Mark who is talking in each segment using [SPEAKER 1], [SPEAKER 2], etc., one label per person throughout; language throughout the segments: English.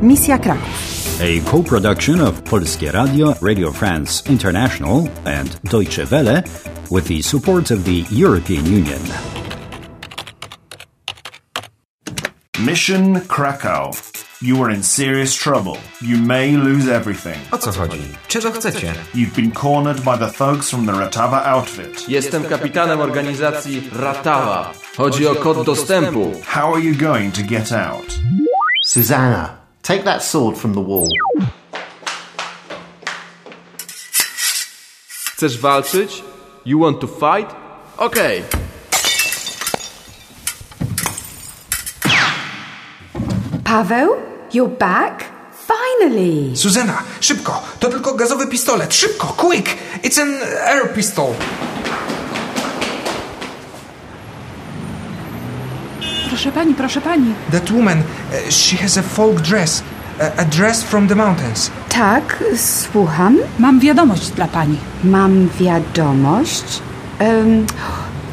[SPEAKER 1] Misja Kraków.
[SPEAKER 2] A co-production of Polskie Radio, Radio France International and Deutsche Welle with the support of the European Union.
[SPEAKER 3] Mission Krakow. You are in serious trouble. You may lose everything.
[SPEAKER 4] O co chodzi? Czego chcecie?
[SPEAKER 3] You've been cornered by the thugs from the Ratava outfit.
[SPEAKER 5] Jestem kapitanem organizacji Ratawa. Chodzi o kod dostępu.
[SPEAKER 3] How are you going to get out?
[SPEAKER 6] Susanna, take that sword from the wall.
[SPEAKER 5] Chcesz walczyć? You want to fight? Okej.
[SPEAKER 7] Paweł, you're back? Finally!
[SPEAKER 4] Suzena, szybko! To tylko gazowy pistolet! Szybko! Quick! It's an air pistol!
[SPEAKER 8] Proszę pani, proszę pani.
[SPEAKER 4] That woman, eh, she has a folk dress. eh, A, a dress from the mountains.
[SPEAKER 7] Tak, słucham.
[SPEAKER 8] Mam wiadomość dla pani.
[SPEAKER 7] Mam wiadomość. Em,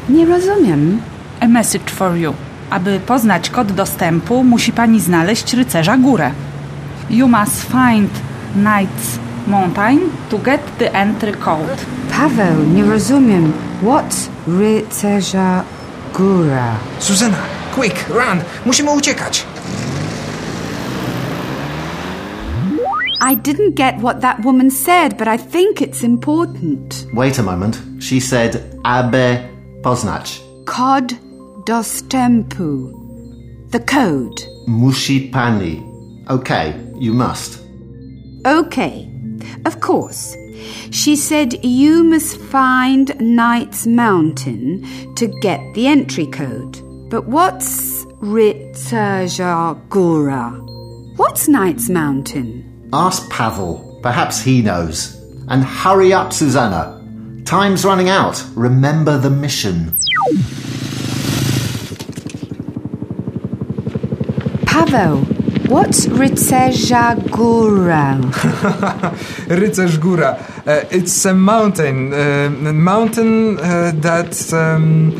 [SPEAKER 7] nie rozumiem.
[SPEAKER 8] A message for you. Aby poznać kod dostępu, musi pani znaleźć rycerza górę. You must find Knight's Mountain to get the entry code.
[SPEAKER 7] Paweł, nie rozumiem. What rycerza góra?
[SPEAKER 4] Suzena, quick, run! Musimy uciekać!
[SPEAKER 7] I didn't get what that woman said, but I think it's important.
[SPEAKER 6] Wait a moment. She said Abe Poznać.
[SPEAKER 7] Kod dostępu. The code.
[SPEAKER 6] Musi pani. Okay, you must.
[SPEAKER 7] Okay, of course. She said you must find Knight's Mountain to get the entry code. But what's Ritzerja Gura? What's Knight's Mountain?
[SPEAKER 6] Ask Pavel. Perhaps he knows. And hurry up, Susanna. Time's running out. Remember the mission.
[SPEAKER 7] Pavel, what's Ritzerja Gura?
[SPEAKER 4] Rycerz góra. Eh, it's a mountain. eh, mountain eh, that em,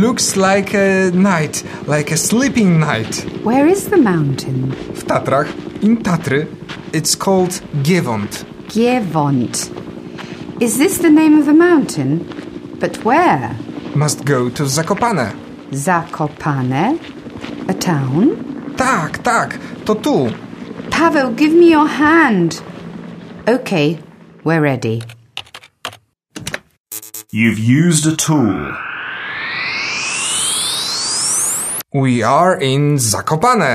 [SPEAKER 4] looks like a night. Like a sleeping night.
[SPEAKER 7] Where is the mountain?
[SPEAKER 4] W Tatrach. In Tatry. It's called Giewont.
[SPEAKER 7] Gievont. Is this the name of the mountain? But where?
[SPEAKER 4] Must go to Zakopane.
[SPEAKER 7] Zakopane? A town?
[SPEAKER 4] Tak, tak, to tu.
[SPEAKER 7] Pavel, give me your hand. Okay, we're ready.
[SPEAKER 3] You've used a tool.
[SPEAKER 4] We are in Zakopane.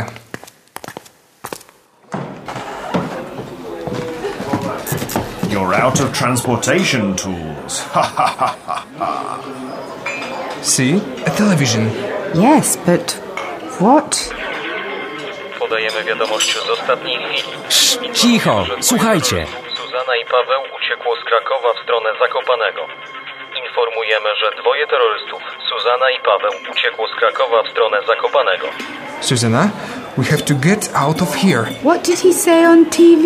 [SPEAKER 3] You're out of transportation tools. Ha ha ha ha.
[SPEAKER 4] See? A television.
[SPEAKER 7] Yes, but what?
[SPEAKER 9] Podajemy wiadomość z ostatniej chwili.
[SPEAKER 10] Cicho, słuchajcie.
[SPEAKER 9] Suzana i Paweł uciekło z Krakowa w stronę Zakopanego. Informujemy, że dwoje terrorystów, Suzana i Paweł, uciekło z Krakowa w stronę Zakopanego.
[SPEAKER 4] Susanna, we have to get out of here.
[SPEAKER 7] What did he say on TV?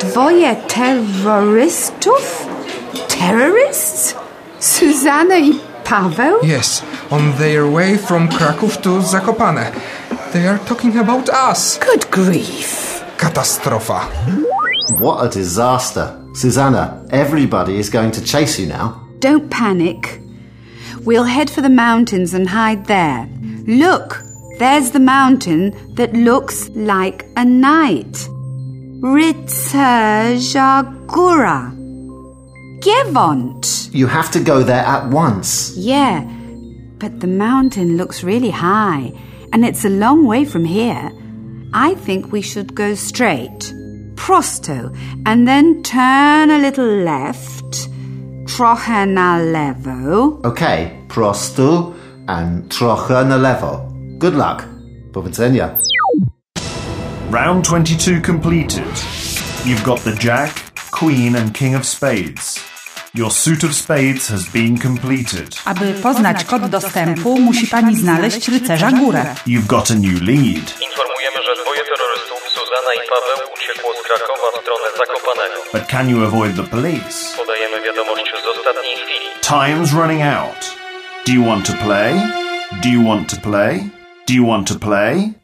[SPEAKER 7] Dwoje terrorystów? Terrorists? Susanna i Paweł?
[SPEAKER 4] Yes, on their way from Kraków to Zakopane. They are talking about us.
[SPEAKER 7] Good grief.
[SPEAKER 4] Katastrofa.
[SPEAKER 6] What a disaster. Susanna, everybody is going to chase you now.
[SPEAKER 7] Don't panic. We'll head for the mountains and hide there. Look, there's the mountain that looks like a knight. Ritzajagura. Gievont.
[SPEAKER 6] You have to go there at once.
[SPEAKER 7] Yeah, but the mountain looks really high, and it's a long way from here. I think we should go straight. Prosto, and then turn a little left. Trochę na lewo.
[SPEAKER 6] Okay, prostu and trochę na lewo. Good luck. Powodzenia.
[SPEAKER 3] Round 22 completed. You've got the Jack, Queen, and King of Spades. Your suit of spades has been completed.
[SPEAKER 8] Aby poznać kod dostępu, musi pani znaleźć rycerza górę.
[SPEAKER 3] You've got a new lead.
[SPEAKER 9] Informujemy, że dwoje terrorystów, Suzana i Paweł, uciekło z Krakowa w stronę Zakopanego.
[SPEAKER 3] But can you avoid the police?
[SPEAKER 9] Podajemy wiadomość z ostatniej chwili.
[SPEAKER 3] Time's running out. Do you want to play? Do you want to play? Do you want to play?